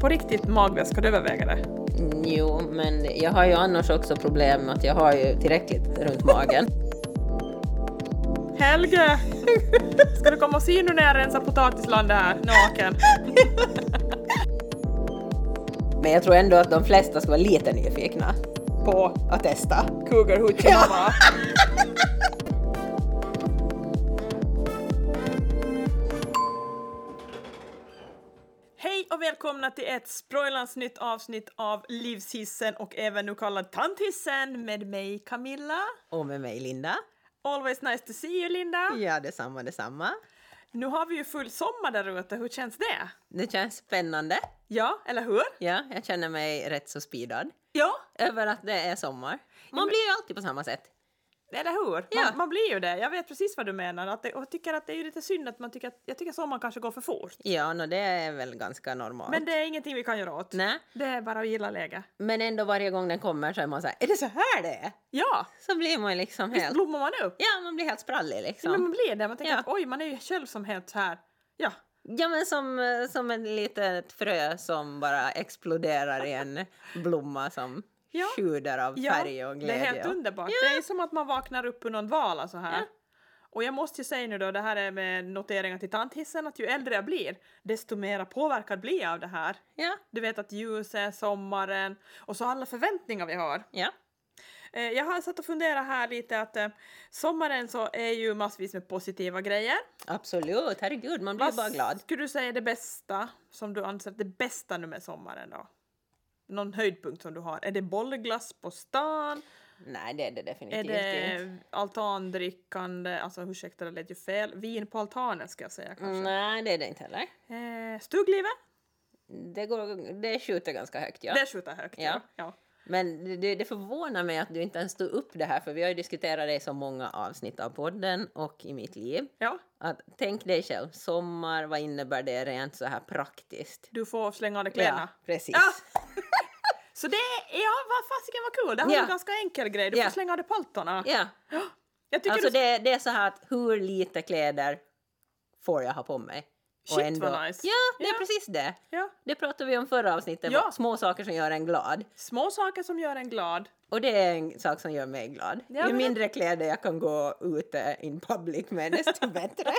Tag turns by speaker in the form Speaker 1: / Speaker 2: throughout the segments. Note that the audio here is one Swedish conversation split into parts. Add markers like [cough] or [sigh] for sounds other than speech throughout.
Speaker 1: på riktigt magväl ska du överväga det?
Speaker 2: Jo, men jag har ju annars också problem med att jag har ju tillräckligt runt magen.
Speaker 1: Helge! Ska du komma och se nu när jag rensar potatislandet här, naken?
Speaker 2: Men jag tror ändå att de flesta ska vara lite nyfikna
Speaker 1: På
Speaker 2: att testa.
Speaker 1: Cougar mamma. Hej och välkomna till ett sproilans nytt avsnitt av Livshissen och även nu kallad Tanthissen med mig Camilla.
Speaker 2: Och med mig Linda.
Speaker 1: Always nice to see you Linda.
Speaker 2: Ja, detsamma, detsamma.
Speaker 1: Nu har vi ju full sommar där ute, hur känns det?
Speaker 2: Det känns spännande.
Speaker 1: Ja, eller hur?
Speaker 2: Ja, jag känner mig rätt så speedad
Speaker 1: Ja,
Speaker 2: över att det är sommar. Man blir ju alltid på samma sätt.
Speaker 1: eller hur?
Speaker 2: Ja.
Speaker 1: Man, man blir ju det, jag vet precis vad du menar. Att det, och jag tycker att det är ju lite synd att man tycker att, jag tycker att sommaren kanske går för fort.
Speaker 2: Ja, nå det är väl ganska normalt.
Speaker 1: Men det är ingenting vi kan göra åt.
Speaker 2: Nej,
Speaker 1: Det är bara att gilla läget.
Speaker 2: men ändå varje gång den kommer så är man så här, är det så här det är?
Speaker 1: Ja,
Speaker 2: Så blir man ju liksom
Speaker 1: visst
Speaker 2: helt...
Speaker 1: blommar man upp?
Speaker 2: Ja, man blir helt sprallig
Speaker 1: Ja, men
Speaker 2: liksom.
Speaker 1: man blir det. Man tänker
Speaker 2: Ja.
Speaker 1: att oj, man är ju själv som helt så här. Ja,
Speaker 2: Ja, men som, eh, som en litet frö som bara exploderar i en blomma som
Speaker 1: Ja.
Speaker 2: sjuder av
Speaker 1: ja
Speaker 2: färg och
Speaker 1: det
Speaker 2: glädje.
Speaker 1: är helt
Speaker 2: och-
Speaker 1: underbart. Det är som att man vaknar upp ur någon dvala så här.
Speaker 2: Ja.
Speaker 1: Och jag måste ju säga nu då, det här är med noteringar till tanthissen, att ju äldre jag blir, desto mera påverkad blir jag av det här.
Speaker 2: Ja,
Speaker 1: Du vet att ljuset, sommaren och så alla förväntningar vi har.
Speaker 2: ja.
Speaker 1: Eh, Jag har satt och funderat här lite att eh, sommaren så är ju massvis med positiva grejer.
Speaker 2: Absolut, herregud, man blir ju bara glad.
Speaker 1: skulle du säga är det bästa som du anser att det bästa nu med sommaren då? Någon höjdpunkt som du har? Är det bollglass på stan?
Speaker 2: Nej, det är det
Speaker 1: Är
Speaker 2: definitivt inte.
Speaker 1: det altandrickande? Alltså ursäkta, det lät ju fel. Vin på altanen ska jag säga kanske.
Speaker 2: Nej, det är det inte heller. Mm.
Speaker 1: Eh, stuglivet?
Speaker 2: Det, går, det skjuter ganska högt, ja.
Speaker 1: Det skjuter högt. Ja.
Speaker 2: Ja.
Speaker 1: Ja.
Speaker 2: Men det- det, det förvånar mig att du inte ens tog upp det här, för vi har ju diskuterat det i så många avsnitt av podden och i mitt liv.
Speaker 1: ja.
Speaker 2: Att, tänk dig själv, sommar, vad innebär det rent så här praktiskt?
Speaker 1: Du får slänga av dig kläderna.
Speaker 2: Ja, precis.
Speaker 1: Ja. [laughs] Så det, ja vad fasiken vad kul! Det här var
Speaker 2: Ja.
Speaker 1: en ganska enkel grej, du
Speaker 2: Ja.
Speaker 1: får slänga av dig paltarna.
Speaker 2: Ja.
Speaker 1: Jag tycker
Speaker 2: Alltså
Speaker 1: du...
Speaker 2: det, det är så här att hur lite kläder får jag ha på mig?
Speaker 1: Shit, vad nice.
Speaker 2: Ja, det
Speaker 1: Ja.
Speaker 2: är precis det.
Speaker 1: Ja.
Speaker 2: Det pratade vi om förra avsnittet,
Speaker 1: Ja.
Speaker 2: små saker som gör en glad.
Speaker 1: Små saker som gör en glad.
Speaker 2: Och det är en sak som gör mig glad.
Speaker 1: Ja,
Speaker 2: Ju
Speaker 1: men-
Speaker 2: mindre kläder jag kan gå ute in
Speaker 1: [laughs]
Speaker 2: public med, desto bättre.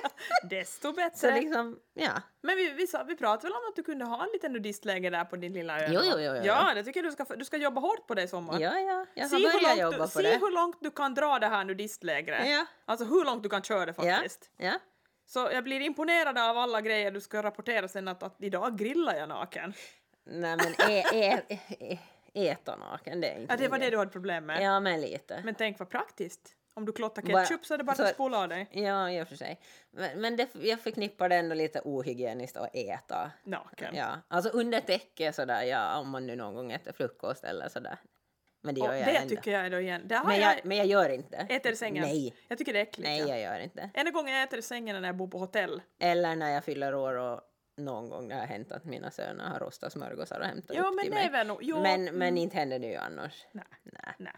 Speaker 1: Desto bättre.
Speaker 2: så liksom, ja.
Speaker 1: Men vi, vi, sa, vi pratade väl om att du kunde ha en liten nudistläger där på din lilla ö?
Speaker 2: Jo, jo, jo, jo, jo.
Speaker 1: Ja, det tycker jag du ska, du ska jobba hårt på det i
Speaker 2: Ja,
Speaker 1: sommar.
Speaker 2: ja. Jag
Speaker 1: Se
Speaker 2: har
Speaker 1: hur,
Speaker 2: börjat
Speaker 1: långt du,
Speaker 2: jobba på
Speaker 1: se
Speaker 2: det.
Speaker 1: hur långt du kan dra det här nudistlägret.
Speaker 2: Ja.
Speaker 1: Alltså hur långt du kan köra det
Speaker 2: Ja,
Speaker 1: faktiskt.
Speaker 2: ja.
Speaker 1: Så jag blir imponerad av alla grejer du ska rapportera sen att, att idag grillar jag naken.
Speaker 2: Nej men e, ä, ä, ä, ä, äta naken, det är inte
Speaker 1: Ja, det var
Speaker 2: min
Speaker 1: det
Speaker 2: grej.
Speaker 1: du hade problem med.
Speaker 2: Ja, men lite.
Speaker 1: Men tänk vad praktiskt. Om du klottar
Speaker 2: Bara-
Speaker 1: ketchup så är det bara
Speaker 2: så-
Speaker 1: att spola av dig.
Speaker 2: Ja, i och för sig. Men, men det, jag förknippar det ändå lite ohygieniskt att äta.
Speaker 1: Naken.
Speaker 2: Ja, alltså under täcke sådär, ja, om man nu någon gång äter frukost eller sådär. Men det
Speaker 1: Och
Speaker 2: gör jag
Speaker 1: det
Speaker 2: ändå.
Speaker 1: tycker jag då igen. Det har
Speaker 2: men,
Speaker 1: jag,
Speaker 2: jag, men jag gör inte.
Speaker 1: äter i sängen. Liksom.
Speaker 2: Nej,
Speaker 1: Jag tycker det är äckligt.
Speaker 2: nej
Speaker 1: ja.
Speaker 2: jag gör inte.
Speaker 1: Enda gången jag äter i sängen är när jag bor på hotell.
Speaker 2: Eller när jag fyller år och någon gång det har hänt att mina söner har rostat smörgåsar och hämtat
Speaker 1: Ja,
Speaker 2: upp
Speaker 1: men
Speaker 2: till
Speaker 1: det är
Speaker 2: mig.
Speaker 1: väl nog... Jo, mm.
Speaker 2: Men, men inte händer det ju annars.
Speaker 1: Nej.
Speaker 2: Nej.
Speaker 1: Nej.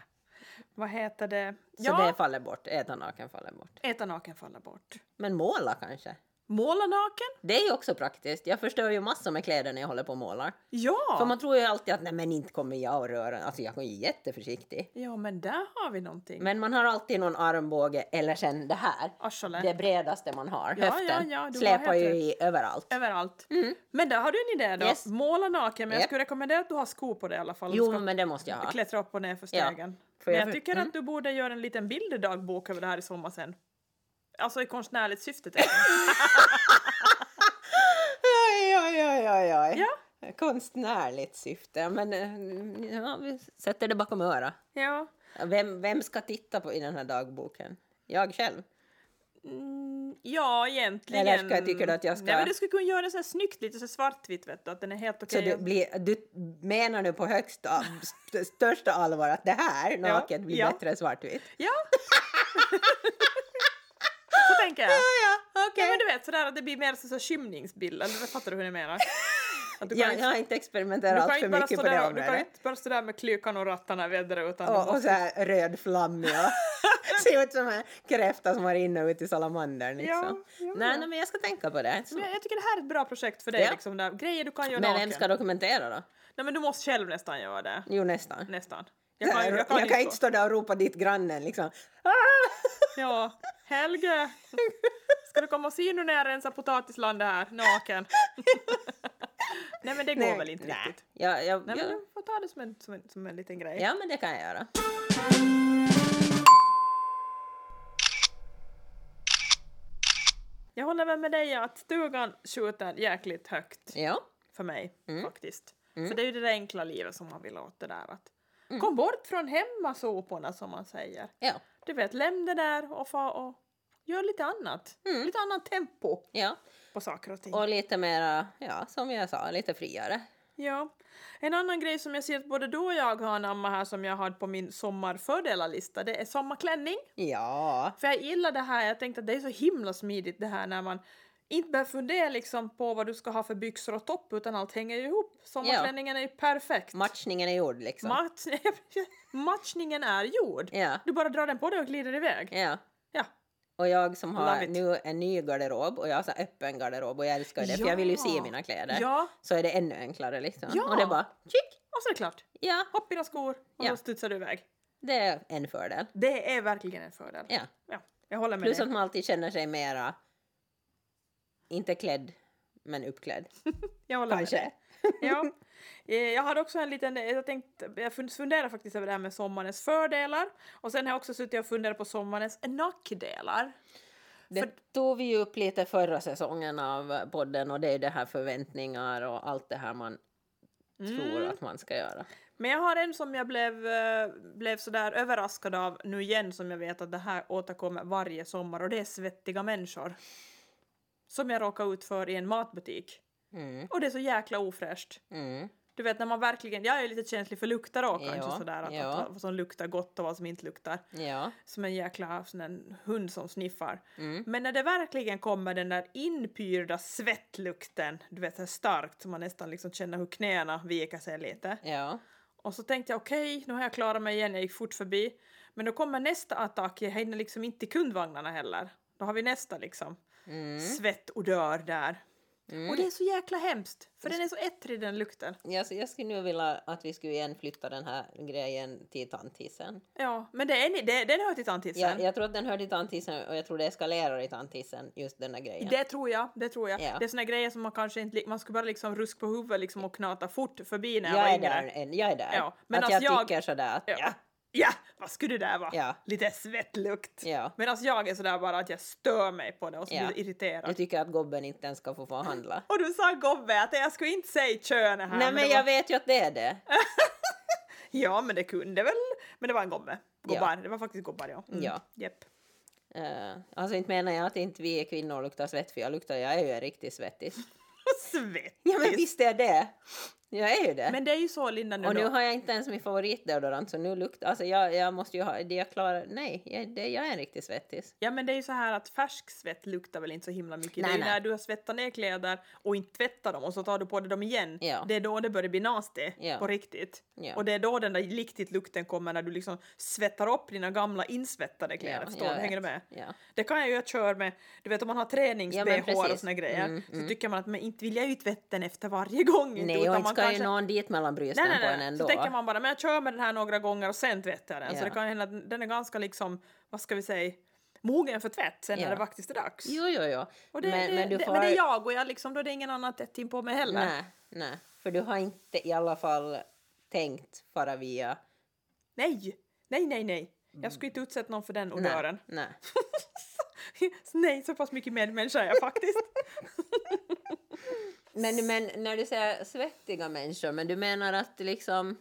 Speaker 1: Vad heter det?
Speaker 2: Så
Speaker 1: Ja,
Speaker 2: det faller bort, äta naken faller bort.
Speaker 1: äta naken faller bort.
Speaker 2: Men måla kanske?
Speaker 1: Måla naken?
Speaker 2: Det är ju också praktiskt. Jag förstör ju massor med kläder när jag håller på och målar.
Speaker 1: Ja!
Speaker 2: För man tror ju alltid att nej men inte kommer jag att röra Alltså jag är ju jätteförsiktig.
Speaker 1: Ja, men där har vi någonting.
Speaker 2: Men man har alltid någon armbåge eller sen det här.
Speaker 1: Arsle.
Speaker 2: Det bredaste man har,
Speaker 1: Ja,
Speaker 2: höften.
Speaker 1: ja, ja, du har
Speaker 2: släpar
Speaker 1: helt
Speaker 2: ju
Speaker 1: rätt.
Speaker 2: i överallt. Mm.
Speaker 1: Överallt. Men där har du en idé då.
Speaker 2: Yes.
Speaker 1: Måla naken, men jag
Speaker 2: Japp.
Speaker 1: skulle rekommendera att du har skor på dig i alla fall.
Speaker 2: Jo
Speaker 1: du
Speaker 2: men det måste jag
Speaker 1: ska
Speaker 2: ha.
Speaker 1: klättra upp och ner för
Speaker 2: Ja.
Speaker 1: stegen.
Speaker 2: Får
Speaker 1: Men
Speaker 2: jag
Speaker 1: jag
Speaker 2: för-
Speaker 1: tycker
Speaker 2: Mm.
Speaker 1: att du borde göra en liten bilderdagbok över det här i sommar sen. Alltså i konstnärligt syfte.
Speaker 2: [laughs]
Speaker 1: tänker jag.
Speaker 2: Oj, oj, oj, oj, oj.
Speaker 1: Ja.
Speaker 2: Konstnärligt syfte. Men eh, ja, vi sätter det bakom örat.
Speaker 1: ja.
Speaker 2: Vem, vem ska titta på i den här dagboken? Jag själv?
Speaker 1: Mm, ja, egentligen.
Speaker 2: Eller ska jag- tycker du att jag ska-
Speaker 1: Nej, men du skulle kunna göra den så här snyggt, lite så här svartvitt vet du, att den är helt
Speaker 2: Så
Speaker 1: okej.
Speaker 2: du, blir, du menar nu på högsta, st- största allvar att det här naket blir
Speaker 1: ja.
Speaker 2: bättre än svartvitt? [laughs]
Speaker 1: Ja. så tänker jag.
Speaker 2: ja,
Speaker 1: Ja, men du vet sådär att det blir mer så så skymningsbild, eller fattar du hur jag menar? Att du kan
Speaker 2: Jag,
Speaker 1: inte,
Speaker 2: jag har inte
Speaker 1: du
Speaker 2: experimenterat
Speaker 1: kan
Speaker 2: allt
Speaker 1: inte
Speaker 2: för
Speaker 1: bara
Speaker 2: mycket
Speaker 1: stå
Speaker 2: på
Speaker 1: där
Speaker 2: det
Speaker 1: och- du kan
Speaker 2: området.
Speaker 1: inte bara stå där med klykan och rattarna i vädret utan du
Speaker 2: Och, och
Speaker 1: måste-
Speaker 2: så här röd flammig och
Speaker 1: [laughs]
Speaker 2: Ser ut som en kräfta som har rinnit ut i salamandern. Liksom.
Speaker 1: Ja, ja.
Speaker 2: Nej, nej, men jag ska tänka på det. Så.
Speaker 1: Men jag tycker det här är ett bra projekt för dig,
Speaker 2: Ja.
Speaker 1: liksom, där, grejer du kan göra
Speaker 2: Men
Speaker 1: naken.
Speaker 2: vem ska dokumentera då?
Speaker 1: Nej men du måste själv nästan göra det.
Speaker 2: Jo, nästan.
Speaker 1: Nästan.
Speaker 2: Jag kan, jag kan,
Speaker 1: gå.
Speaker 2: inte stå där och ropa dit grannen liksom. Ah!
Speaker 1: Ja, Helge! Ska [laughs] du komma och se nu när jag rensar potatislandet här,
Speaker 2: [laughs]
Speaker 1: naken? nej men det går väl inte
Speaker 2: nej.
Speaker 1: riktigt.
Speaker 2: Ja, ja,
Speaker 1: Nej men
Speaker 2: ja.
Speaker 1: du får ta det som en, som en, som en liten grej.
Speaker 2: ja, men det kan jag göra.
Speaker 1: Jag håller väl med dig att stugan skjuter jäkligt högt
Speaker 2: Ja.
Speaker 1: för mig
Speaker 2: Mm.
Speaker 1: faktiskt.
Speaker 2: Mm.
Speaker 1: För det är ju det där enkla livet som man vill åt det där att kom bort från hemmasoporna som man säger.
Speaker 2: Ja.
Speaker 1: Du vet, lämna det där och få och gör lite annat.
Speaker 2: Mm.
Speaker 1: Lite annat tempo
Speaker 2: ja.
Speaker 1: på saker och ting.
Speaker 2: Och lite mera, ja, som jag sa, lite friare.
Speaker 1: Ja. En annan grej som jag ser att både du och jag har anammat här som jag har på min sommarfördelarlista det är sommarklänning.
Speaker 2: Ja.
Speaker 1: För jag gillar det här, jag tänkte att det är så himla smidigt det här när man inte behöver fundera liksom på vad du ska ha för byxor och topp utan allt hänger ju ihop. Sommarklänningen är ju perfekt.
Speaker 2: Matchningen är gjord liksom.
Speaker 1: Match... [laughs] Matchningen är gjord.
Speaker 2: ja.
Speaker 1: Du bara drar den på dig och glider iväg.
Speaker 2: ja.
Speaker 1: Ja.
Speaker 2: Och jag som
Speaker 1: Love
Speaker 2: har
Speaker 1: it.
Speaker 2: nu en ny garderob och jag har så här öppen garderob och jag älskar det för jag vill ju se
Speaker 1: Ja.
Speaker 2: mina kläder.
Speaker 1: Ja,
Speaker 2: Så är det ännu enklare liksom.
Speaker 1: Ja.
Speaker 2: Och det är bara tjick!
Speaker 1: och så är det klart.
Speaker 2: Ja,
Speaker 1: Hopp i dina skor och
Speaker 2: Ja.
Speaker 1: då studsar du iväg.
Speaker 2: det är en fördel.
Speaker 1: Det är verkligen en fördel.
Speaker 2: Ja.
Speaker 1: Ja, jag håller med
Speaker 2: Plus
Speaker 1: dig.
Speaker 2: att man alltid känner sig mera, inte klädd, men uppklädd.
Speaker 1: Jag håller med dig.
Speaker 2: Kanske.
Speaker 1: Ja. [laughs] Eh, Jag hade också en liten, jag tänkte, jag fun- funderar faktiskt över det här med sommarens fördelar och sen har jag också suttit och funderat på sommarens nackdelar.
Speaker 2: Det
Speaker 1: För-
Speaker 2: tog vi ju upp lite förra säsongen av podden och det är det här förväntningar och allt det här man
Speaker 1: Mm.
Speaker 2: tror att man ska göra.
Speaker 1: Men jag har en som jag blev, eh, blev sådär överraskad av nu igen som jag vet att det här återkommer varje sommar och det är svettiga människor. Som jag råkade ut för i en matbutik.
Speaker 2: Mm,
Speaker 1: Och det är så jäkla ofräscht.
Speaker 2: mm,
Speaker 1: Du vet när man verkligen, jag är lite känslig för lukter då kanske
Speaker 2: Ja,
Speaker 1: sådär att,
Speaker 2: ja.
Speaker 1: att vad som luktar gott och vad som inte luktar.
Speaker 2: ja.
Speaker 1: Som en jäkla sån där hund som sniffar.
Speaker 2: Mm.
Speaker 1: Men när det verkligen kommer den där inpyrda svettlukten, du vet så här starkt, så man nästan liksom känner hur knäna viker sig lite.
Speaker 2: Ja.
Speaker 1: Och så tänkte jag okej, nu har jag klarat mig igen, jag gick fort förbi. Men då kommer nästa attack, jag hinner liksom inte till kundvagnarna heller. Då har vi nästa liksom
Speaker 2: Mm.
Speaker 1: svettodör där.
Speaker 2: Mm.
Speaker 1: Och det är så jäkla hemskt, för den är så ettrig den lukten.
Speaker 2: Jag, jag skulle nu vilja att vi skulle igen flytta den här grejen till tantisen.
Speaker 1: Ja, men det är, ni- det, den hör till tandtissen.
Speaker 2: Jag, jag tror att den hör till tantisen och jag tror det eskalerar i tantisen, just den där grejen.
Speaker 1: Det tror jag, det tror jag.
Speaker 2: Ja.
Speaker 1: Det är såna grejer som man kanske inte, li- man skulle bara liksom ruska på huvudet liksom och knata fort förbi när jag,
Speaker 2: jag,
Speaker 1: var
Speaker 2: är
Speaker 1: yngre.
Speaker 2: där, än- jag är där.
Speaker 1: Ja, men
Speaker 2: att
Speaker 1: alltså
Speaker 2: jag,
Speaker 1: jag-
Speaker 2: tycker sådär att
Speaker 1: Ja.
Speaker 2: ja,
Speaker 1: ja. vad skulle det där vara?
Speaker 2: ja,
Speaker 1: Lite svettlukt.
Speaker 2: ja.
Speaker 1: Medan jag är sådär bara att jag stör mig på det och så
Speaker 2: Ja.
Speaker 1: blir jag irriterad.
Speaker 2: Jag tycker att gobben inte ens ska få få handla.
Speaker 1: Och du sa gobbe att jag skulle inte säga könet här.
Speaker 2: Nej men
Speaker 1: det
Speaker 2: jag
Speaker 1: var...
Speaker 2: vet ju att det är det.
Speaker 1: Ja men det kunde väl. Men det var en gobbe.
Speaker 2: Ja.
Speaker 1: Gobbar. Det var faktiskt gobbar ja. Mm.
Speaker 2: Ja.
Speaker 1: Japp. [laughs]
Speaker 2: Eh, alltså inte menar jag att inte vi kvinnor luktar svett för jag luktar, jag är ju en riktig svettis.
Speaker 1: Svettis.
Speaker 2: Ja men visst är det! Jag är ju det.
Speaker 1: Men det är ju så Linda nu
Speaker 2: och nu
Speaker 1: då.
Speaker 2: har jag inte ens min favoritdeodorant så nu luktar, alltså jag, jag måste ju ha, det jag klarar, nej, jag, det, jag är en riktig svettis.
Speaker 1: Ja men det är ju så här att färsk svett luktar väl inte så himla mycket. det
Speaker 2: Nej,
Speaker 1: är ju
Speaker 2: nej.
Speaker 1: när du har svettat ner kläder och inte tvättar dem och så tar du på dig dem igen.
Speaker 2: Ja.
Speaker 1: Det är då det börjar bli nasty
Speaker 2: Ja.
Speaker 1: på riktigt.
Speaker 2: Ja.
Speaker 1: Och det är då den där riktigt lukten kommer när du liksom svettar upp dina gamla insvettade kläder.
Speaker 2: Ja,
Speaker 1: Förstår
Speaker 2: jag
Speaker 1: du? Hänger du
Speaker 2: vet.
Speaker 1: med?
Speaker 2: Ja.
Speaker 1: Det kan jag ju att köra med, du vet om man har
Speaker 2: Ja, men
Speaker 1: tränings-bh och
Speaker 2: precis.
Speaker 1: såna grejer,
Speaker 2: Mm,
Speaker 1: så
Speaker 2: mm.
Speaker 1: tycker man att men inte vill jag ju tvätta den efter varje gång. inte,
Speaker 2: Nej
Speaker 1: utan
Speaker 2: och inte
Speaker 1: man
Speaker 2: ska
Speaker 1: kanske-
Speaker 2: ju någon dit mellan
Speaker 1: Nej,
Speaker 2: brösten
Speaker 1: nej,
Speaker 2: på en
Speaker 1: nej.
Speaker 2: ändå.
Speaker 1: Så tänker man bara, men jag kör med den här några gånger och sen tvättar jag den.
Speaker 2: Ja.
Speaker 1: Så det kan ju hända att den är ganska liksom, vad ska vi säga, mogen för tvätt sen
Speaker 2: Ja.
Speaker 1: när det faktiskt är dags.
Speaker 2: Jo, jo, jo.
Speaker 1: Och det,
Speaker 2: men,
Speaker 1: det,
Speaker 2: men du
Speaker 1: det,
Speaker 2: får...
Speaker 1: men det är jag och jag liksom, då är det ingen annan tätt in på mig heller. Nej,
Speaker 2: Nej, nej. För du har inte i alla fall tänkt fara via...
Speaker 1: nej, nej, nej. Jag skulle inte utsätta någon för den odören. [laughs]
Speaker 2: Nej, nej.
Speaker 1: Så nej, så pass mycket medmänniska är jag faktiskt.
Speaker 2: Men, men när du säger svettiga människor, men du menar att liksom...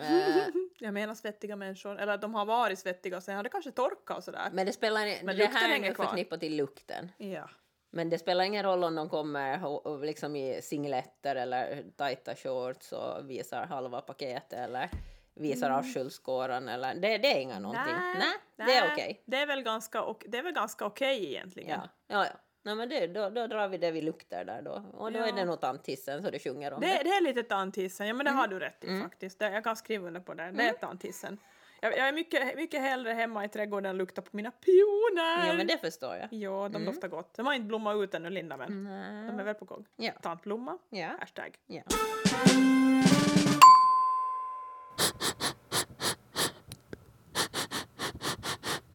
Speaker 1: [laughs]
Speaker 2: Eh,
Speaker 1: jag menar svettiga människor, eller att de har varit svettiga och sen har det kanske torkat och sådär.
Speaker 2: men det spelar ingen-
Speaker 1: Men
Speaker 2: Det
Speaker 1: lukten
Speaker 2: här är
Speaker 1: hänger
Speaker 2: nu
Speaker 1: kvar.
Speaker 2: förknippat till lukten.
Speaker 1: Ja.
Speaker 2: Men det spelar ingen roll om de kommer ho- och liksom i singletter eller tajta shorts och visar halva paketet eller visar avskylskåran eller... Det, det är inga någonting. Mm. Nej, det är
Speaker 1: nej.
Speaker 2: okej.
Speaker 1: Det är väl ganska, ok- det är väl ganska okej egentligen.
Speaker 2: Ja, ja. ja. Nej, men det, då, då drar vi det vi luktar där då. Och då
Speaker 1: Ja.
Speaker 2: är det nog tantissen så det sjunger om det. Mm,
Speaker 1: Det, det är lite tantissen, ja men det har du rätt i faktiskt. Det, jag kan skriva under på det, det är tantissen. Jag, jag är mycket, mycket hellre hemma i trädgården och luktar på mina pioner.
Speaker 2: Ja men det förstår jag.
Speaker 1: Ja, de
Speaker 2: Mm.
Speaker 1: doftar gott. De har inte blommat ut ännu, Linda, men de är
Speaker 2: Nej.
Speaker 1: väl på gång.
Speaker 2: Ja.
Speaker 1: Tantblomma,
Speaker 2: Ja.
Speaker 1: hashtag.
Speaker 2: ja.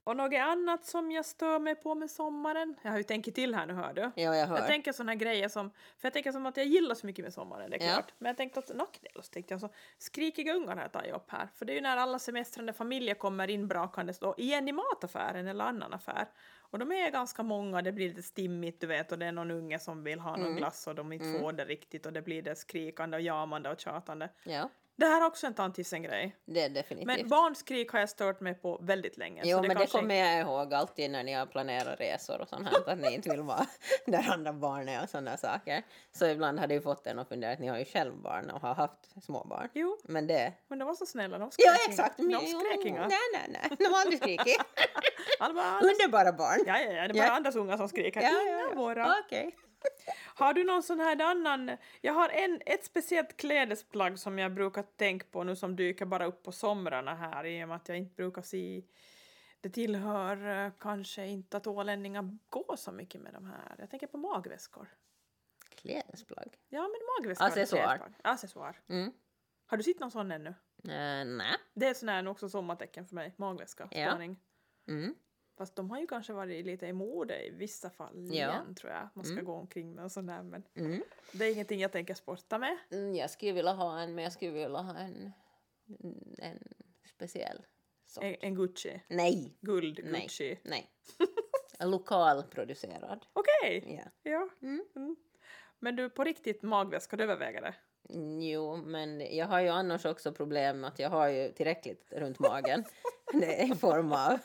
Speaker 1: Och något annat som jag stör mig på med sommaren? Jag har ju tänkt till här nu, hör du.
Speaker 2: Ja, jag hör.
Speaker 1: Jag tänker såna här grejer som, för jag tänker som att jag gillar så mycket med sommaren, det är
Speaker 2: Ja.
Speaker 1: klart. Men jag tänkte att nackdel, så tänkte jag så, skrikiga ungar har jag tagit upp Alltså, här. För det är ju när alla semestrande familjer kommer inbrakandes då, igen i mataffären eller annan affär. Och de är ganska många, det blir lite stimmigt du vet och det är någon unge som vill ha någon
Speaker 2: Mm.
Speaker 1: glass och de inte
Speaker 2: Mm.
Speaker 1: får det riktigt och det blir det skrikande och jamande och tjatande.
Speaker 2: Ja,
Speaker 1: Det här är också en tantissen-grej.
Speaker 2: det är definitivt.
Speaker 1: Men barnskrik har jag stört mig på väldigt länge.
Speaker 2: Jo,
Speaker 1: så det
Speaker 2: men Alltså, det
Speaker 1: kanske
Speaker 2: kommer jag ihåg alltid när ni har planerat resor och sånt här, att ni inte vill vara [laughs] där andra barn är och sådana saker. Så ibland hade jag fått en att fundera att ni har ju själv barn och har haft små barn.
Speaker 1: Jo,
Speaker 2: Men det...
Speaker 1: men de var så snälla, de skrek
Speaker 2: Ja,
Speaker 1: inga-
Speaker 2: exakt! men-
Speaker 1: De skrek inga.
Speaker 2: Nej, nej, nej. De har aldrig [laughs] skrikit.
Speaker 1: Alla bara, "Ah,
Speaker 2: [laughs] Underbara barn.
Speaker 1: Ja, ja, ja, det är bara
Speaker 2: Ja.
Speaker 1: andras ungar som skriker.
Speaker 2: Ja,
Speaker 1: Inga
Speaker 2: ja, ja.
Speaker 1: våra.
Speaker 2: Okej.
Speaker 1: Har du någon sån här annan? Jag har en, ett speciellt klädesplagg som jag brukar tänka på nu som dyker bara upp på somrarna här i och med att jag inte brukar se det tillhör eh, kanske inte att ålänningar går så mycket med de här. Jag tänker på magväskor.
Speaker 2: Klädesplagg?
Speaker 1: Ja, men magväskor
Speaker 2: Accessoar.
Speaker 1: är ett klädesplagg. Accessoar.
Speaker 2: Mm.
Speaker 1: Har du sett någon sån ännu?
Speaker 2: Eh, nej.
Speaker 1: Det är sån här också sommartecken för mig, magväska.
Speaker 2: Ja.
Speaker 1: Spaning.
Speaker 2: Mm.
Speaker 1: Fast de har ju kanske varit lite i mode i vissa fall
Speaker 2: Ja.
Speaker 1: igen tror jag. att Man ska
Speaker 2: Mm.
Speaker 1: gå omkring med och sån där men
Speaker 2: Mm.
Speaker 1: Det är ingenting jag tänker sporta med.
Speaker 2: Mm, jag skulle vilja ha en, men jag skulle vilja ha en, en speciell sort.
Speaker 1: En, en Gucci.
Speaker 2: Nej,
Speaker 1: Guld
Speaker 2: Nej.
Speaker 1: Gucci.
Speaker 2: nej. [laughs] Lokalproducerad.
Speaker 1: Okej!
Speaker 2: Ja.
Speaker 1: Ja.
Speaker 2: Mm.
Speaker 1: Men du, på riktigt magväska, du överväger det?
Speaker 2: Mm, Jo, men jag har ju annars också problem med att jag har ju tillräckligt runt magen. [laughs] det är i form av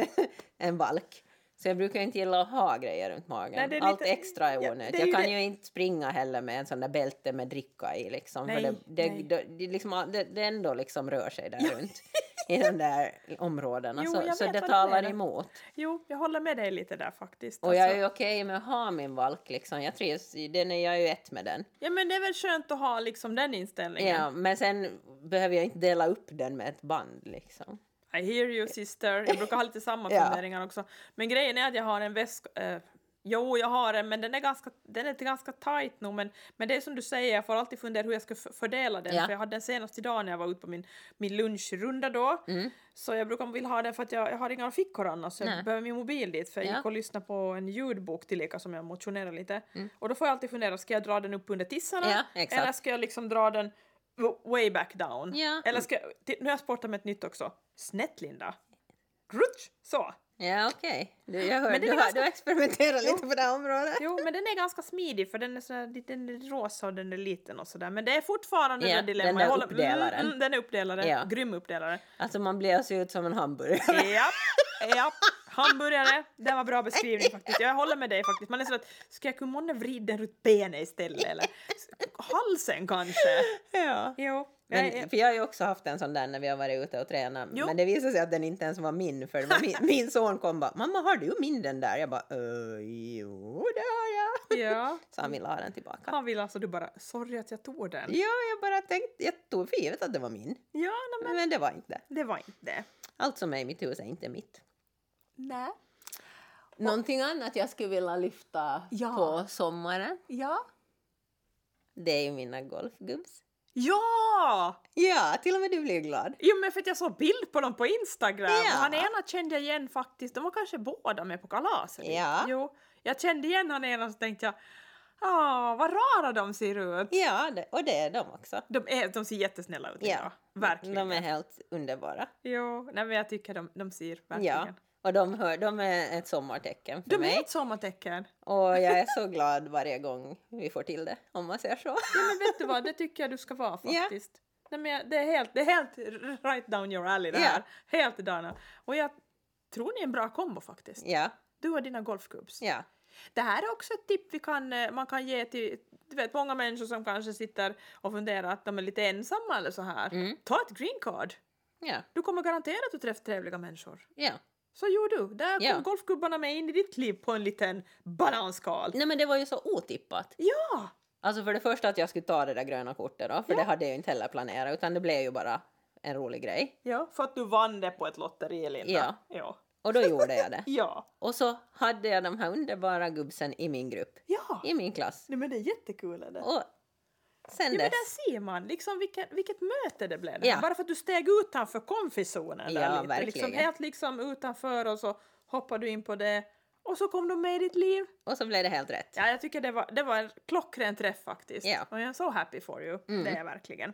Speaker 2: [laughs] en valk. Så jag brukar inte gilla att ha grejer runt magen.
Speaker 1: Nej, det är
Speaker 2: Allt
Speaker 1: lite-
Speaker 2: extra är
Speaker 1: ja,
Speaker 2: onödigt.
Speaker 1: det är ju
Speaker 2: jag
Speaker 1: det-
Speaker 2: kan ju inte springa heller med en sån där bälte med dricka i liksom. för
Speaker 1: Nej,
Speaker 2: det, det,
Speaker 1: nej.
Speaker 2: Det, det, liksom, det, det ändå liksom rör sig där runt. I de där områdena.
Speaker 1: Jo,
Speaker 2: så
Speaker 1: jag
Speaker 2: så
Speaker 1: vet
Speaker 2: det
Speaker 1: vad du
Speaker 2: talar
Speaker 1: menar.
Speaker 2: emot.
Speaker 1: Jo, jag håller med dig lite där faktiskt.
Speaker 2: Och jag är
Speaker 1: alltså.
Speaker 2: ju okej med att ha min valk liksom. Jag trivs, i- den är jag är ju ett med den.
Speaker 1: Ja men det är väl skönt att ha liksom den inställningen.
Speaker 2: Ja, men sen behöver jag inte dela upp den med ett band liksom.
Speaker 1: I hear you sister. Jag brukar ha lite samma
Speaker 2: [laughs] Ja.
Speaker 1: funderingar också. Men grejen är att jag har en väska... Eh, jo, jag har en men den är ganska, den är ganska tight nog. Men, men det är som du säger, jag får alltid fundera hur jag ska f- fördela den.
Speaker 2: Ja.
Speaker 1: För jag hade den senast idag när jag var ute på min, min lunchrunda då.
Speaker 2: Mm.
Speaker 1: Så jag brukar vilja ha den för att jag, jag har inga fickor annars. Så
Speaker 2: Nej.
Speaker 1: jag behöver min mobil dit. För jag
Speaker 2: Ja.
Speaker 1: gick och lyssnade på en ljudbok tillika som jag motionerar lite.
Speaker 2: Mm.
Speaker 1: Och då får jag alltid fundera, ska jag dra den upp under tissarna?
Speaker 2: Ja,
Speaker 1: Eller
Speaker 2: exakt.
Speaker 1: ska jag liksom dra den w- way back down?
Speaker 2: Ja.
Speaker 1: Eller ska jag, ti- nu har jag sportat med ett nytt också. Snett Linda! Rutsch! Så!
Speaker 2: Ja, okej. Du, jag hör,
Speaker 1: Men
Speaker 2: du,
Speaker 1: den är
Speaker 2: har-
Speaker 1: ganska-
Speaker 2: du experimenterar
Speaker 1: Jo.
Speaker 2: lite på det här området.
Speaker 1: Jo, men den är ganska smidig för den är, sådär, den är rosa och den är liten och sådär. Men det är fortfarande
Speaker 2: Ja,
Speaker 1: det dilemma.
Speaker 2: den där
Speaker 1: Jag håller-
Speaker 2: uppdelaren.
Speaker 1: Mm, mm, den är uppdelare.
Speaker 2: Ja.
Speaker 1: Grym
Speaker 2: [laughs]
Speaker 1: uppdelare.
Speaker 2: Alltså man blir alltså ut som en hamburgare.
Speaker 1: Japp, japp. Hamburgare. Det var bra beskrivning faktiskt. Jag håller med dig faktiskt. Man är så att, ska jag kunna månne vrida den runt benet istället eller s- halsen kanske?
Speaker 2: Ja.
Speaker 1: Jo. jag är-
Speaker 2: [laughs] Men, för jag har ju också haft en sån där när vi har varit ute och tränat.
Speaker 1: Jo.
Speaker 2: Men det visade sig att den inte ens var min. För det
Speaker 1: [laughs]
Speaker 2: var min, min son kom bara “Mamma, har du min den där?” Jag bara “Eh, “Jo, det har jag”.
Speaker 1: ja.
Speaker 2: Så han ville ha den tillbaka.
Speaker 1: Han vill alltså du bara, sorry att jag tog den.
Speaker 2: Ja, jag bara tänkte, jag tog för givet att det var min.
Speaker 1: Ja, nej,
Speaker 2: Men det var inte.
Speaker 1: men det var inte det.
Speaker 2: Allt som är i mitt hus är inte mitt.
Speaker 1: Nej.
Speaker 2: Någonting annat jag skulle vilja lyfta
Speaker 1: Ja.
Speaker 2: på sommaren,
Speaker 1: Ja.
Speaker 2: det är ju mina golfgubbs.
Speaker 1: Ja!
Speaker 2: Ja, till och med du blir glad.
Speaker 1: Jo men för att jag såg bild på dem på Instagram
Speaker 2: Ja.
Speaker 1: och han ena kände jag igen faktiskt, de var kanske båda med på kalaset.
Speaker 2: Ja.
Speaker 1: Jo, jag kände igen han ena så tänkte jag, ah vad rara de ser ut.
Speaker 2: Ja, det, och det är de också.
Speaker 1: De, är, de ser jättesnälla ut
Speaker 2: Ja.
Speaker 1: idag, verkligen.
Speaker 2: De är helt underbara.
Speaker 1: Jo, nej men jag tycker de, de ser verkligen.
Speaker 2: Ja, och de, hör, de är ett sommartecken för
Speaker 1: De är
Speaker 2: mig.
Speaker 1: ett sommartecken.
Speaker 2: Och jag är så glad varje gång vi får till det, om man säger [laughs] så.
Speaker 1: Ja men vet du vad, det tycker jag du ska vara
Speaker 2: Ja.
Speaker 1: faktiskt. Nej, men jag- det, är helt, det är helt right down your alley det
Speaker 2: Ja.
Speaker 1: här. Helt i dana. Och jag tror ni är en bra kombo faktiskt.
Speaker 2: Ja,
Speaker 1: Du och dina golfgubbs.
Speaker 2: ja.
Speaker 1: Det här är också ett tips vi kan, eh, man kan ge till du vet, många människor som kanske sitter och funderar att de är lite ensamma eller så här.
Speaker 2: Mm.
Speaker 1: Ta ett green card.
Speaker 2: Ja,
Speaker 1: Du kommer garanterat att träffa trevliga människor.
Speaker 2: ja.
Speaker 1: Så gjorde du. Där kom
Speaker 2: Ja.
Speaker 1: golfgubbarna med in i ditt liv på en liten bananskal.
Speaker 2: Nej men det var ju så otippat.
Speaker 1: Ja!
Speaker 2: Alltså för det första att jag skulle ta det där gröna kortet då, för
Speaker 1: Ja.
Speaker 2: det hade jag ju inte heller planerat utan det blev ju bara en rolig grej.
Speaker 1: Ja, för att du vann det på ett lotteri, Linda.
Speaker 2: Ja.
Speaker 1: Ja.
Speaker 2: Och då gjorde jag det.
Speaker 1: [laughs] Ja.
Speaker 2: Och så hade jag de här underbara gubbsen i min grupp,
Speaker 1: ja.
Speaker 2: i min klass.
Speaker 1: Nej, men det är jättekul. Är det?
Speaker 2: Och sen
Speaker 1: Ja, men
Speaker 2: dess.
Speaker 1: där ser man liksom vilket, vilket möte det blev.
Speaker 2: Ja.
Speaker 1: Bara för att du steg utanför komfiszonen.
Speaker 2: Ja,
Speaker 1: där lite. Liksom,
Speaker 2: verkligen.
Speaker 1: helt liksom utanför och så hoppade du in på det och så kom de med i ditt liv.
Speaker 2: Och så blev det helt rätt.
Speaker 1: Ja, jag tycker det var, det var en klockren träff faktiskt.
Speaker 2: Ja.
Speaker 1: Och jag är så happy for you.
Speaker 2: Mm.
Speaker 1: Det är jag verkligen.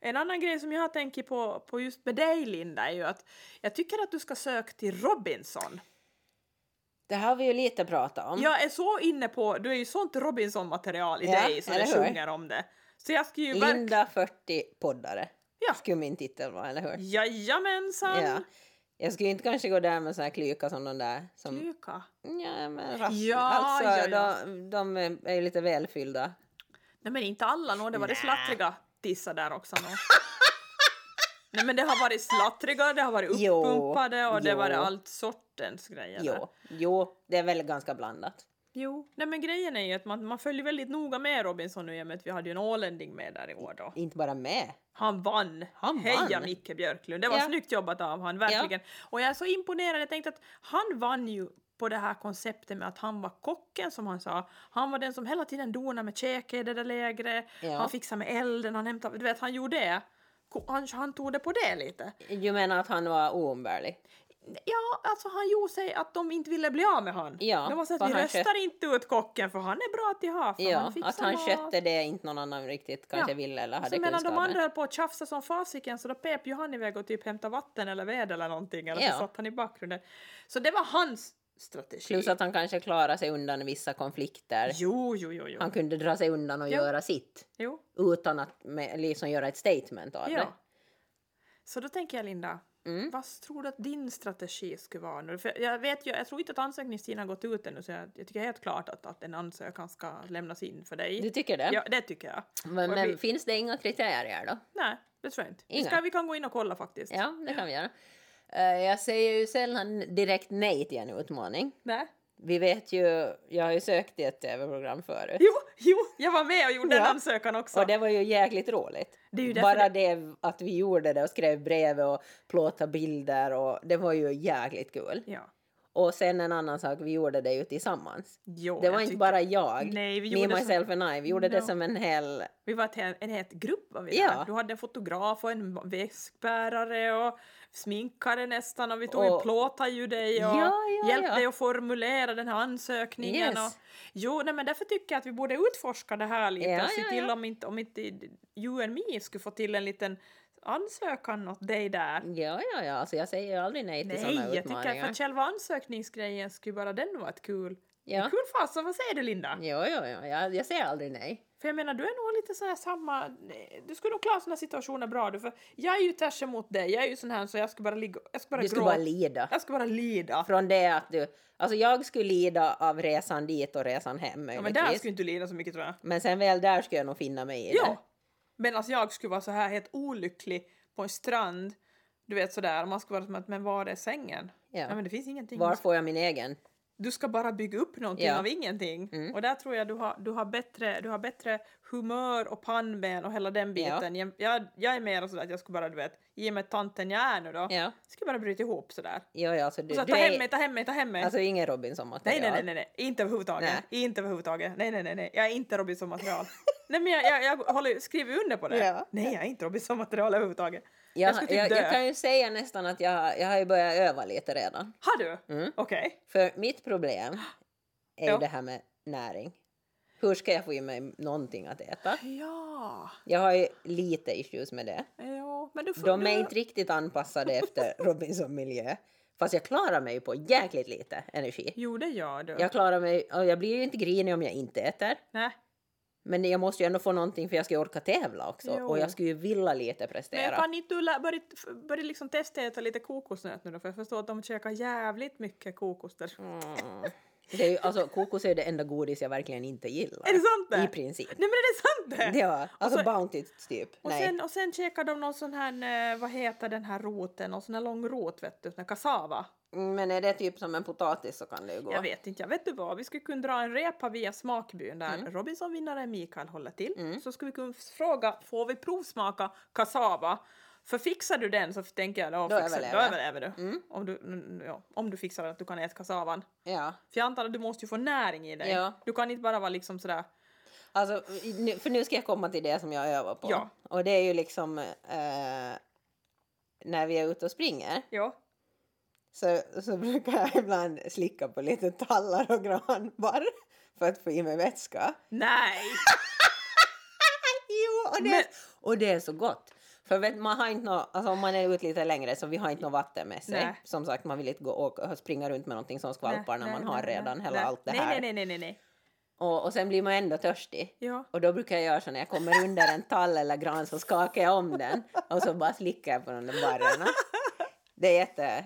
Speaker 1: En annan grej som jag har tänkt på, på just med dig Linda är ju att jag tycker att du ska söka till Robinson.
Speaker 2: Det har vi ju lite pratat om.
Speaker 1: Jag är så inne på, du är ju sånt Robinson-material i
Speaker 2: Mm. Ja,
Speaker 1: dig så
Speaker 2: eller
Speaker 1: det
Speaker 2: hur?
Speaker 1: sjunger om det. Så jag ska ju verkligen...
Speaker 2: Linda 40 poddare.
Speaker 1: Ja.
Speaker 2: Skulle min titel vara, eller hur?
Speaker 1: Jajamensan!
Speaker 2: Ja. Jag skulle inte kanske gå där med såna här klyka som de där som...
Speaker 1: Lycka.
Speaker 2: Ja, men rast...
Speaker 1: Ja,
Speaker 2: alltså,
Speaker 1: ja, ja.
Speaker 2: De, de är ju lite [laughs] välfyllda.
Speaker 1: Nej men inte alla nå, det var det
Speaker 2: Nä.
Speaker 1: slattriga tissa där också nå. Nej men det har varit slattriga, det har varit
Speaker 2: Jo,
Speaker 1: uppumpade och det har
Speaker 2: jo.
Speaker 1: varit allt sortens grejer. där.
Speaker 2: Jo, jo, det är väl ganska blandat.
Speaker 1: jo. Nej men grejen är ju att man, man följer väldigt noga med Robinson nu i och med att vi hade ju en ålänning med där i år då.
Speaker 2: Inte bara med.
Speaker 1: Han vann!
Speaker 2: Han
Speaker 1: Heja
Speaker 2: vann.
Speaker 1: Micke Björklund, det var
Speaker 2: Ja.
Speaker 1: snyggt jobbat av han, verkligen. Och jag är så imponerad, jag tänkte att han vann ju på det här konceptet med att han var kocken som han sa. Han var den som hela tiden donade med käke i det där lägret,
Speaker 2: Ja.
Speaker 1: han fixade med elden, han hämtade, du vet han gjorde det. Ko- Han, han tog det på det lite.
Speaker 2: Du menar att han var oumbärlig?
Speaker 1: Ja, alltså han gjorde sig att de inte ville bli av med han.
Speaker 2: Ja,
Speaker 1: de var så
Speaker 2: för
Speaker 1: att vi
Speaker 2: han
Speaker 1: röstar inte ut kocken för han är bra att ha. För
Speaker 2: Ja,
Speaker 1: han fixar
Speaker 2: att han
Speaker 1: mat.
Speaker 2: skötte det inte någon annan riktigt kanske
Speaker 1: Ja.
Speaker 2: ville eller hade
Speaker 1: Så medan de
Speaker 2: kunskapen.
Speaker 1: andra höll på att tjafsa som fasiken så då pep ju han iväg och typ hämtade vatten eller ved eller någonting eller
Speaker 2: Ja.
Speaker 1: så satt han i bakgrunden. Så det var hans strategi.
Speaker 2: Plus att han kanske klarade sig undan vissa konflikter.
Speaker 1: Jo, jo, jo, jo.
Speaker 2: Han kunde dra sig undan och
Speaker 1: Ja.
Speaker 2: göra sitt
Speaker 1: jo.
Speaker 2: utan att med, liksom göra ett statement av
Speaker 1: Ja. Så då tänker jag Linda,
Speaker 2: det. Mm.
Speaker 1: vad tror du att din strategi skulle vara nu? För jag vet ju, jag tror inte att ansökningstiden har gått ut ännu så jag, jag tycker helt klart att, att en ansökan ska lämnas in för dig.
Speaker 2: Du tycker det?
Speaker 1: Ja, det tycker jag.
Speaker 2: Men,
Speaker 1: Och
Speaker 2: men
Speaker 1: vi-
Speaker 2: finns det inga kriterier då?
Speaker 1: Nej, det tror jag inte. Vi,
Speaker 2: Inga.
Speaker 1: ska, vi kan gå in och kolla faktiskt.
Speaker 2: Ja, det kan vi göra. Eh, Jag säger ju sällan direkt nej till en utmaning.
Speaker 1: Nej.
Speaker 2: Vi vet ju, jag har ju sökt i ett tv-program förut.
Speaker 1: Jo, jo, jag var med och gjorde en
Speaker 2: Ja.
Speaker 1: ansökan också.
Speaker 2: Och det var ju jäkligt roligt.
Speaker 1: Det är ju därför
Speaker 2: Bara det att vi gjorde det och skrev brev och plåtade bilder och det var ju jäkligt kul.
Speaker 1: Ja.
Speaker 2: Och sen en annan sak, vi gjorde det ju tillsammans.
Speaker 1: Jo,
Speaker 2: Det
Speaker 1: jag
Speaker 2: var inte
Speaker 1: tycker-
Speaker 2: bara jag,
Speaker 1: Nej, vi
Speaker 2: me,
Speaker 1: gjorde
Speaker 2: myself and I, vi gjorde det
Speaker 1: No.
Speaker 2: som en hel...
Speaker 1: Vi var ett, he- en het grupp var vi
Speaker 2: Ja.
Speaker 1: där. Du hade en fotograf och en väskbärare och sminkare nästan och vi tog
Speaker 2: Och-
Speaker 1: och... plåtade ju dig och
Speaker 2: Ja, ja,
Speaker 1: hjälpte
Speaker 2: ja.
Speaker 1: dig att formulera den här ansökningen.
Speaker 2: Yes.
Speaker 1: Och... Jo, nej, men därför tycker jag att vi borde utforska det här lite
Speaker 2: Ja,
Speaker 1: och se
Speaker 2: ja,
Speaker 1: till
Speaker 2: ja.
Speaker 1: om inte, om inte you and me skulle få till en liten ansökan åt dig där.
Speaker 2: Ja, ja, ja, alltså jag säger ju aldrig nej till
Speaker 1: Nej,
Speaker 2: sådana
Speaker 1: jag tycker att
Speaker 2: utmaningar.
Speaker 1: för själva ansökningsgrejen skulle bara den vara ett kul...
Speaker 2: Ja.
Speaker 1: en Kul fasa, vad säger du Linda?
Speaker 2: Jo, jo, jo, jag, jag säger aldrig nej.
Speaker 1: För jag menar, du är nog lite så här samma... Du skulle nog klara såna situationer bra du, för jag är ju tvärs emot dig. Jag är ju sån här så jag skulle bara ligga... Jag skulle bara
Speaker 2: Du skulle
Speaker 1: gråta.
Speaker 2: bara lida.
Speaker 1: Jag skulle bara lida.
Speaker 2: Från det att du... Alltså jag skulle lida av resan dit och resan hem
Speaker 1: Ja,
Speaker 2: möjligtvis.
Speaker 1: men där skulle inte du lida så mycket tror jag.
Speaker 2: Men sen väl där skulle jag nog finna mig i det.
Speaker 1: Ja! Medan jag skulle vara så här helt olycklig på en strand. Du vet sådär, och man skulle vara som att men var är sängen?
Speaker 2: Ja.
Speaker 1: Nej men det finns ingenting.
Speaker 2: Var får jag min egen?
Speaker 1: Du ska bara bygga upp någonting
Speaker 2: Ja.
Speaker 1: av ingenting.
Speaker 2: Mm.
Speaker 1: Och där tror jag du har, du har, bättre, du har bättre humör och pannben och hela den
Speaker 2: Ja.
Speaker 1: biten. Jag- Jag, jag är mer sådär att jag skulle bara, du vet, i och med tanten jag är nu då.
Speaker 2: Ja,
Speaker 1: ska bara bryta ihop sådär.
Speaker 2: ja, ja alltså du...
Speaker 1: Och så,
Speaker 2: du
Speaker 1: ta
Speaker 2: är-
Speaker 1: hem mig, ta hem mig, ta hem mig.
Speaker 2: Alltså ingen
Speaker 1: nej,
Speaker 2: Robinson-material.
Speaker 1: nej, nej, nej, nej, inte överhuvudtaget.
Speaker 2: Nej.
Speaker 1: Inte överhuvudtaget. Nej, nej, nej, nej. Jag är inte
Speaker 2: [laughs]
Speaker 1: Robinson-material. nej, men jag, jag, jag håller, skriver under på det.
Speaker 2: Ja.
Speaker 1: Nej, jag är inte Robinson-material överhuvudtaget.
Speaker 2: Jag,
Speaker 1: Jag skulle typ
Speaker 2: jag, jag
Speaker 1: dö.
Speaker 2: kan ju säga nästan att jag, jag har ju börjat öva lite redan.
Speaker 1: Har du?
Speaker 2: Mm.
Speaker 1: Okej.
Speaker 2: För mitt problem är ju
Speaker 1: Ja.
Speaker 2: det här med näring. Hur ska jag få i mig någonting att äta?
Speaker 1: Ja.
Speaker 2: Jag har ju lite issues med det.
Speaker 1: Jo, men du får...
Speaker 2: De
Speaker 1: du...
Speaker 2: är inte riktigt anpassade
Speaker 1: [laughs]
Speaker 2: efter Robinson-miljö. Fast jag klarar mig på jäkligt lite energi.
Speaker 1: Jo, det gör du.
Speaker 2: Jag klarar mig, och jag blir ju inte grinig om jag inte äter.
Speaker 1: Nej.
Speaker 2: Men jag måste ju ändå få någonting för jag ska ju orka tävla också.
Speaker 1: Jo.
Speaker 2: Och jag skulle ju vilja lite
Speaker 1: Men jag
Speaker 2: prestera.
Speaker 1: kan inte du lä- börja, börja liksom testa äta lite kokosnöt nu då? För jag förstår att de käkar jävligt mycket kokos där.
Speaker 2: Mm. Det är ju, alltså, kokos är ju det enda godis jag verkligen inte gillar.
Speaker 1: Är det sant det?
Speaker 2: I princip.
Speaker 1: [laughs] Nej men är det sant det?
Speaker 2: Ja, alltså
Speaker 1: så-
Speaker 2: Bounty typ.
Speaker 1: Och
Speaker 2: Nej.
Speaker 1: sen, och sen käkar de någon sån här, eh, vad heter den här roten, någon sån här lång rot vet du, sån här kassava.
Speaker 2: Men är det typ som en potatis så kan det ju gå.
Speaker 1: Jag vet inte, jag vet du vad, vi skulle kunna dra en repa via smakbyn där
Speaker 2: Mm.
Speaker 1: Robinson-vinnaren Mikael håller till.
Speaker 2: Mm.
Speaker 1: Så skulle vi kunna fråga, får vi provsmaka kassava? För fixar du den så tänker jag, då,
Speaker 2: Då
Speaker 1: fixar, då
Speaker 2: överlever jag.
Speaker 1: överlever du.
Speaker 2: Mm,
Speaker 1: Om du, mm, ja, om du fixar att du kan äta kassavan.
Speaker 2: ja.
Speaker 1: För jag antar att du måste ju få näring i dig.
Speaker 2: Ja.
Speaker 1: Du kan inte bara vara liksom sådär,
Speaker 2: Alltså, i- nu- för nu ska jag komma till det som jag övar på.
Speaker 1: Ja.
Speaker 2: Och det är ju liksom eh, när vi är ute och springer
Speaker 1: ja.
Speaker 2: så, så [laughs] brukar jag ibland slicka på lite tallar och granbar för att få i mig vätska.
Speaker 1: Nej!
Speaker 2: jo, och det,
Speaker 1: Men-
Speaker 2: och det är så gott. För vet, man har inte nå, alltså om man är ute lite längre så vi har inte något vatten med sig.
Speaker 1: Nej.
Speaker 2: Som sagt, man vill inte gå och, och springa runt med någonting som skvalpar när
Speaker 1: Nej,
Speaker 2: man
Speaker 1: nej,
Speaker 2: har
Speaker 1: nej,
Speaker 2: redan
Speaker 1: nej.
Speaker 2: hela allt det
Speaker 1: nej,
Speaker 2: här.
Speaker 1: Nej, nej, nej, nej, nej.
Speaker 2: Och, och sen blir man ändå törstig.
Speaker 1: Ja.
Speaker 2: Och då brukar jag göra så när jag kommer under en tall eller gran så skakar jag om den och så bara slickar jag på de där barrarna. Det är jätte...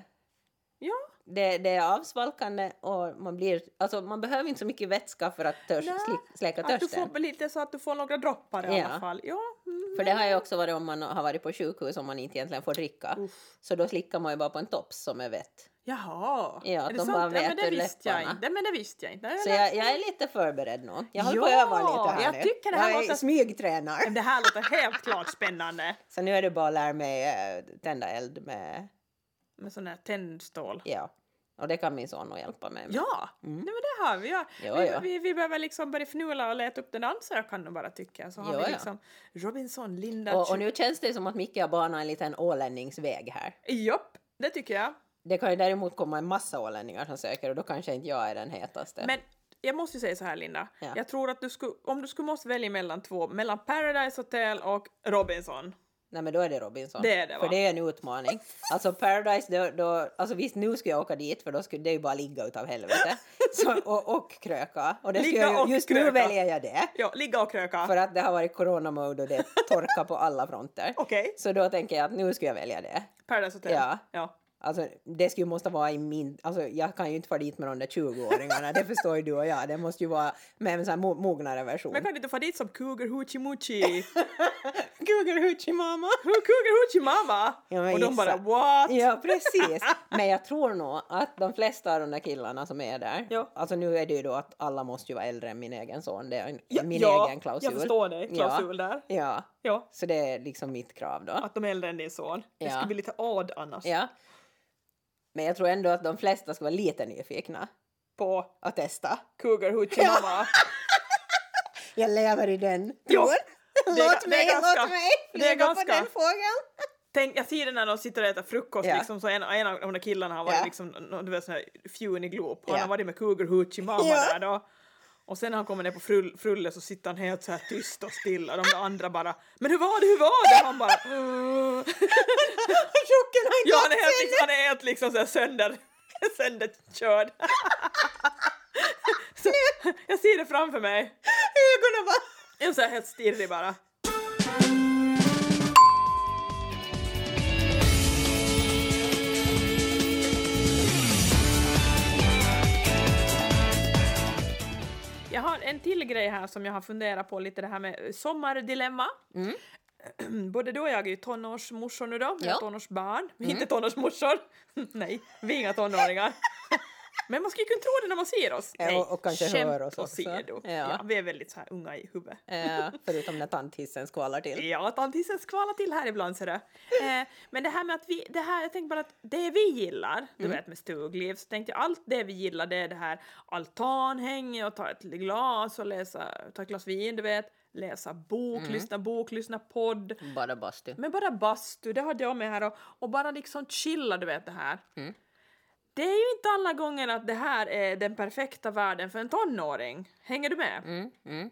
Speaker 1: Ja.
Speaker 2: Det, det är avsvalkande och man blir... Alltså man behöver inte så mycket vätska för att törs,
Speaker 1: Nej.
Speaker 2: slick, släcka
Speaker 1: Att du
Speaker 2: törsten.
Speaker 1: får lite så att du får några droppar i
Speaker 2: Ja.
Speaker 1: alla fall. Ja. Mm.
Speaker 2: För det har ju också varit om man har varit på sjukhus om man inte egentligen får dricka.
Speaker 1: Uff.
Speaker 2: Så då slickar man ju bara på en tops som är vett.
Speaker 1: Jaha.
Speaker 2: Ja,
Speaker 1: är
Speaker 2: att
Speaker 1: det
Speaker 2: de
Speaker 1: sant?
Speaker 2: bara
Speaker 1: Nej, men
Speaker 2: vet
Speaker 1: det
Speaker 2: ur
Speaker 1: visste jag
Speaker 2: läpparna.
Speaker 1: inte. Nej, men det visste jag inte. Nej,
Speaker 2: Så
Speaker 1: nej.
Speaker 2: jag, jag är lite förberedd nu. Jag håller på
Speaker 1: Ja,
Speaker 2: att öva lite här
Speaker 1: jag
Speaker 2: nu.
Speaker 1: tycker det här
Speaker 2: jag är
Speaker 1: låter-
Speaker 2: smygtränar.
Speaker 1: Men Det här låter helt klart spännande.
Speaker 2: Så nu är det bara att lära mig eh, tända eld med
Speaker 1: Med sån här tändstål.
Speaker 2: Ja, och det kan min son nog hjälpa mig med.
Speaker 1: Ja,
Speaker 2: Mm.
Speaker 1: nej, men det har vi. Ja.
Speaker 2: Ja,
Speaker 1: vi,
Speaker 2: ja.
Speaker 1: Vi, vi behöver liksom börja fnula och leta upp den ansökan och bara tycka. Så har
Speaker 2: Ja,
Speaker 1: vi
Speaker 2: ja.
Speaker 1: liksom Robinson, Linda...
Speaker 2: Och, och nu känns det som att Micke har banat en liten ålänningsväg här.
Speaker 1: Jopp, det tycker jag.
Speaker 2: Det kan ju däremot komma en massa ålänningar som söker och då kanske inte jag är den hetaste.
Speaker 1: Men jag måste ju säga så här Linda.
Speaker 2: Ja.
Speaker 1: Jag tror att du skulle, om du skulle måste välja mellan två, mellan Paradise Hotel och Robinson.
Speaker 2: Nej men då är det Robinson.
Speaker 1: Det är det, va?
Speaker 2: För det är en utmaning. Alltså Paradise, då, då, alltså visst nu skulle jag åka dit för då skulle det ju bara ligga utav helvete. Så, och, och kröka. Och det skulle
Speaker 1: Ligga
Speaker 2: jag, ju-
Speaker 1: och
Speaker 2: just nu
Speaker 1: kröka.
Speaker 2: väljer jag det.
Speaker 1: Ja, ligga och kröka.
Speaker 2: För att det har varit coronamode och det torkar på alla fronter.
Speaker 1: Okej,
Speaker 2: Så då tänker jag att nu ska jag välja det.
Speaker 1: Paradise Hotel.
Speaker 2: Ja.
Speaker 1: ja.
Speaker 2: Alltså det skulle ju måste vara i min... Alltså jag kan ju inte fara dit med de där 20-åringarna, det förstår ju du och jag. Det måste ju vara med en sån här mo- mognare version.
Speaker 1: Men kan du inte få dit som Cougar Hoochie
Speaker 2: [laughs]
Speaker 1: Moochie?
Speaker 2: Google Hoochie mamma!
Speaker 1: Cougar Hoochie Mama!
Speaker 2: Ja, men
Speaker 1: och de
Speaker 2: gissa.
Speaker 1: bara what?
Speaker 2: Ja precis! Men jag tror nog att de flesta av de där killarna som är där,
Speaker 1: Ja.
Speaker 2: alltså nu är det ju då att alla måste ju vara äldre än min egen son, det är en,
Speaker 1: Ja,
Speaker 2: min
Speaker 1: ja,
Speaker 2: egen klausul.
Speaker 1: Jag förstår dig,
Speaker 2: Ja.
Speaker 1: klausul där.
Speaker 2: Ja,
Speaker 1: Ja,
Speaker 2: så det är liksom mitt krav då.
Speaker 1: att de är äldre än din son. Det
Speaker 2: Ja.
Speaker 1: skulle bli lite odd annars.
Speaker 2: Ja. Men jag tror ändå att de flesta ska vara lite nyfikna
Speaker 1: På [laughs]
Speaker 2: att testa.
Speaker 1: Cougar Hoochie
Speaker 2: Ja.
Speaker 1: Mama.
Speaker 2: Jag lever i den
Speaker 1: Ja.
Speaker 2: tron.
Speaker 1: är-
Speaker 2: Låt
Speaker 1: det är
Speaker 2: mig,
Speaker 1: ganska-
Speaker 2: låt mig
Speaker 1: det är
Speaker 2: flyga
Speaker 1: ganska-
Speaker 2: på den
Speaker 1: [laughs]
Speaker 2: fågeln.
Speaker 1: Tänk, jag ser det när de sitter och äter frukost
Speaker 2: Ja.
Speaker 1: liksom, så en, en av de där killarna har varit
Speaker 2: Ja.
Speaker 1: liksom, nå- du vet sån här fjunig glop. Han
Speaker 2: Ja.
Speaker 1: har varit med Cougar Hoochie mamma
Speaker 2: Ja.
Speaker 1: där då. Och sen när han kommer ner på frull, Frulle så sitter han helt så här tyst och still och de där andra bara “men hur var det, hur var det?” Han bara "Mm."
Speaker 2: Chocken har inte
Speaker 1: Ja
Speaker 2: ja,
Speaker 1: han är helt, liksom, han är helt liksom så här sönder, [laughs] sönderkörd. [laughs] så, jag ser det framför mig.
Speaker 2: ögonen bara...
Speaker 1: Jag är så här helt stirrig bara. Jag har en till grej här som jag har funderat på lite det här med sommardilemma.
Speaker 2: Mm.
Speaker 1: Både du och jag är ju tonårsmorsor nu då, vi har
Speaker 2: Ja. Mm.
Speaker 1: tonårsbarn. Vi är inte tonårsmorsor. [laughs] Nej, vi är inga
Speaker 2: [laughs]
Speaker 1: tonåringar. Men man skulle ju kunna tro det när man ser oss.
Speaker 2: Ja,
Speaker 1: Nej,
Speaker 2: och- och kanske
Speaker 1: skämt
Speaker 2: hör oss också.
Speaker 1: åsido.
Speaker 2: Ja.
Speaker 1: Ja, vi är väldigt så här unga i huvudet.
Speaker 2: Eh, [laughs] förutom när tandtissen skvalar till.
Speaker 1: [laughs] Ja, tantissen skvalar till här ibland ser du. Eh, men det här med att vi, det här, jag tänkte bara att det vi gillar, du vet med stugliv, så tänkte jag allt det vi gillar det är det här altanhänge och ta ett glas och läsa, ta ett glas vin, du vet, läsa bok, lyssna bok, lyssna podd.
Speaker 2: Bara bastu.
Speaker 1: Men bara bastu, det hade jag med här och, och bara liksom chilla, du vet det här.
Speaker 2: Mm.
Speaker 1: Det är ju inte alla gånger att det här är den perfekta världen för en tonåring. Hänger du med?
Speaker 2: Mm, mm.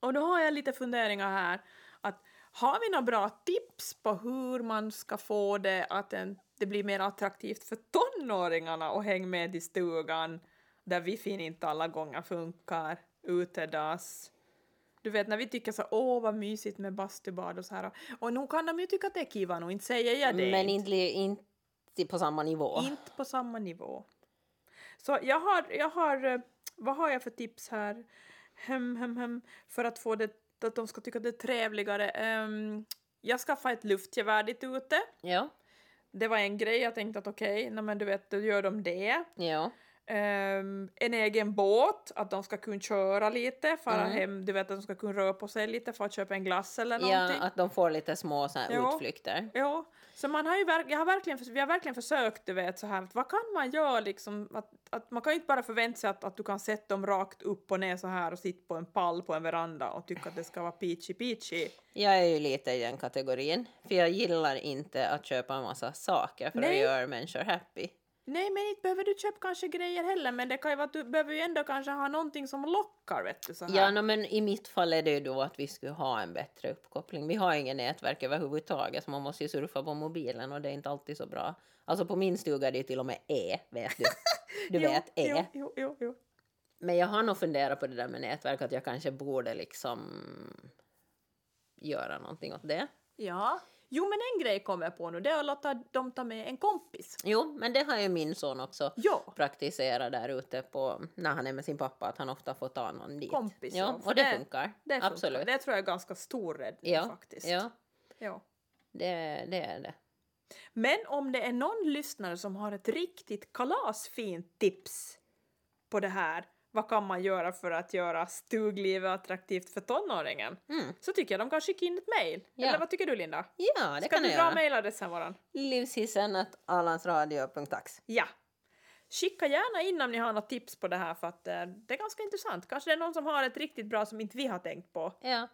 Speaker 1: Och då har jag lite funderingar här. Att har vi några bra tips på hur man ska få det att en, det blir mer attraktivt för tonåringarna att hänga med i stugan där wifi inte alla gånger funkar, utedass. Du vet när vi tycker så här, åh vad mysigt med bastubad och så här. Och nu kan de ju tycka att det är kiva och inte säger jag det.
Speaker 2: Men inte, inte på samma nivå.
Speaker 1: Inte på samma nivå. Så jag har, jag har eh, Vad har jag för tips här? Hem, hem, hem. För att få det att de ska tycka att det är trevligare. Ehm, jag skaffade ett luftgevär dit ute.
Speaker 2: Ja.
Speaker 1: Det var en grej, jag tänkte att okej, nej men du vet, då gör de det.
Speaker 2: Ja.
Speaker 1: Ehm, en egen båt, att de ska kunna köra lite, fara
Speaker 2: Mm.
Speaker 1: hem, du vet att de ska kunna röra på sig lite för att köpa en glass eller
Speaker 2: ja,
Speaker 1: någonting.
Speaker 2: att de får lite små så här
Speaker 1: Ja.
Speaker 2: utflykter.
Speaker 1: Ja, så man har ju verk- jag har verkligen, förs- vi har verkligen försökt, du vet, så här, att vad kan man göra liksom, att, att man kan ju inte bara förvänta sig att, att du kan sätta dem rakt upp och ner så här och sitta på en pall på en veranda och tycka att det ska vara peachy peachy.
Speaker 2: Jag är ju lite i den kategorin, för jag gillar inte att köpa en massa saker för
Speaker 1: Nej.
Speaker 2: att göra människor happy.
Speaker 1: Nej, men inte behöver du köpa kanske grejer heller, men det kan ju vara att du behöver ju ändå kanske ha någonting som lockar, vet du, så här.
Speaker 2: Ja, no, men i mitt fall är det ju då att vi skulle ha en bättre uppkoppling. Vi har inget nätverk överhuvudtaget, så man måste ju surfa på mobilen och det är inte alltid så bra. Alltså på min stuga är det ju till och med E, vet du. Du
Speaker 1: Jo,
Speaker 2: vet, E.
Speaker 1: Jo, jo, jo, jo.
Speaker 2: Men jag har nog funderat på det där med nätverk, att jag kanske borde liksom göra någonting åt det.
Speaker 1: Ja. Jo, men en grej kommer jag på nu, det är att låta dem ta med en kompis.
Speaker 2: Jo, men det har ju min son också
Speaker 1: Ja.
Speaker 2: praktisera där ute på, när han är med sin pappa, att han ofta får ta någon dit.
Speaker 1: Kompis, ja,
Speaker 2: ja,
Speaker 1: för
Speaker 2: och det,
Speaker 1: det-
Speaker 2: funkar.
Speaker 1: Det funkar.
Speaker 2: Absolut.
Speaker 1: Det tror jag är ganska stor räddning
Speaker 2: ja,
Speaker 1: faktiskt.
Speaker 2: ja
Speaker 1: Ja.
Speaker 2: det, det är det.
Speaker 1: Men om det är någon lyssnare som har ett riktigt kalasfint tips på det här, vad kan man göra för att göra stuglivet attraktivt för tonåringen?
Speaker 2: Mm.
Speaker 1: Så tycker jag de kan skicka in ett mejl.
Speaker 2: Ja.
Speaker 1: Eller vad tycker du Linda?
Speaker 2: Ja, det
Speaker 1: Ska
Speaker 2: kan
Speaker 1: du
Speaker 2: jag
Speaker 1: dra
Speaker 2: göra.
Speaker 1: mejladressen varann?
Speaker 2: Livshissen.allansradio.tax.
Speaker 1: Ja. Skicka gärna in om ni har något tips på det här för att eh, det är ganska intressant. Kanske det är någon som har ett riktigt bra som inte vi har tänkt på
Speaker 2: Ja,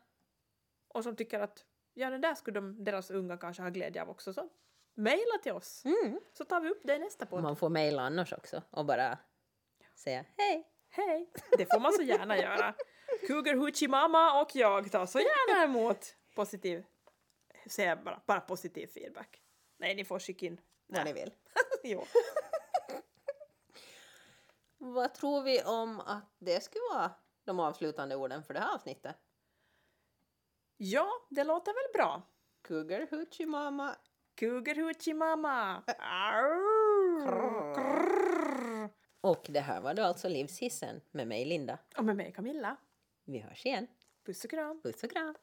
Speaker 1: och som tycker att ja, den där skulle de, deras unga kanske ha glädje av också. Så mejla till oss
Speaker 2: mm.
Speaker 1: så tar vi upp det i nästa podd.
Speaker 2: man får mejla annars också och bara säga hej.
Speaker 1: Hej! [laughs] Det får man så gärna göra. Cougar Hoochie Mama och jag tar så gärna emot positiv... Säger jag bara, bara positiv feedback. Nej, ni får skicka in. [laughs]
Speaker 2: Vad ni vill.
Speaker 1: Jo.
Speaker 2: Vad tror vi om att det skulle vara de avslutande orden för det här avsnittet?
Speaker 1: Ja, det låter väl bra.
Speaker 2: Cougar Hoochie Mama.
Speaker 1: Cougar Hoochie Mama!
Speaker 2: Krrr.
Speaker 1: Arr. Krrr.
Speaker 2: Och det här var då alltså Livshissen med mig Linda.
Speaker 1: Och med mig Camilla.
Speaker 2: Vi hörs igen.
Speaker 1: Puss och kram.
Speaker 2: Puss och kram.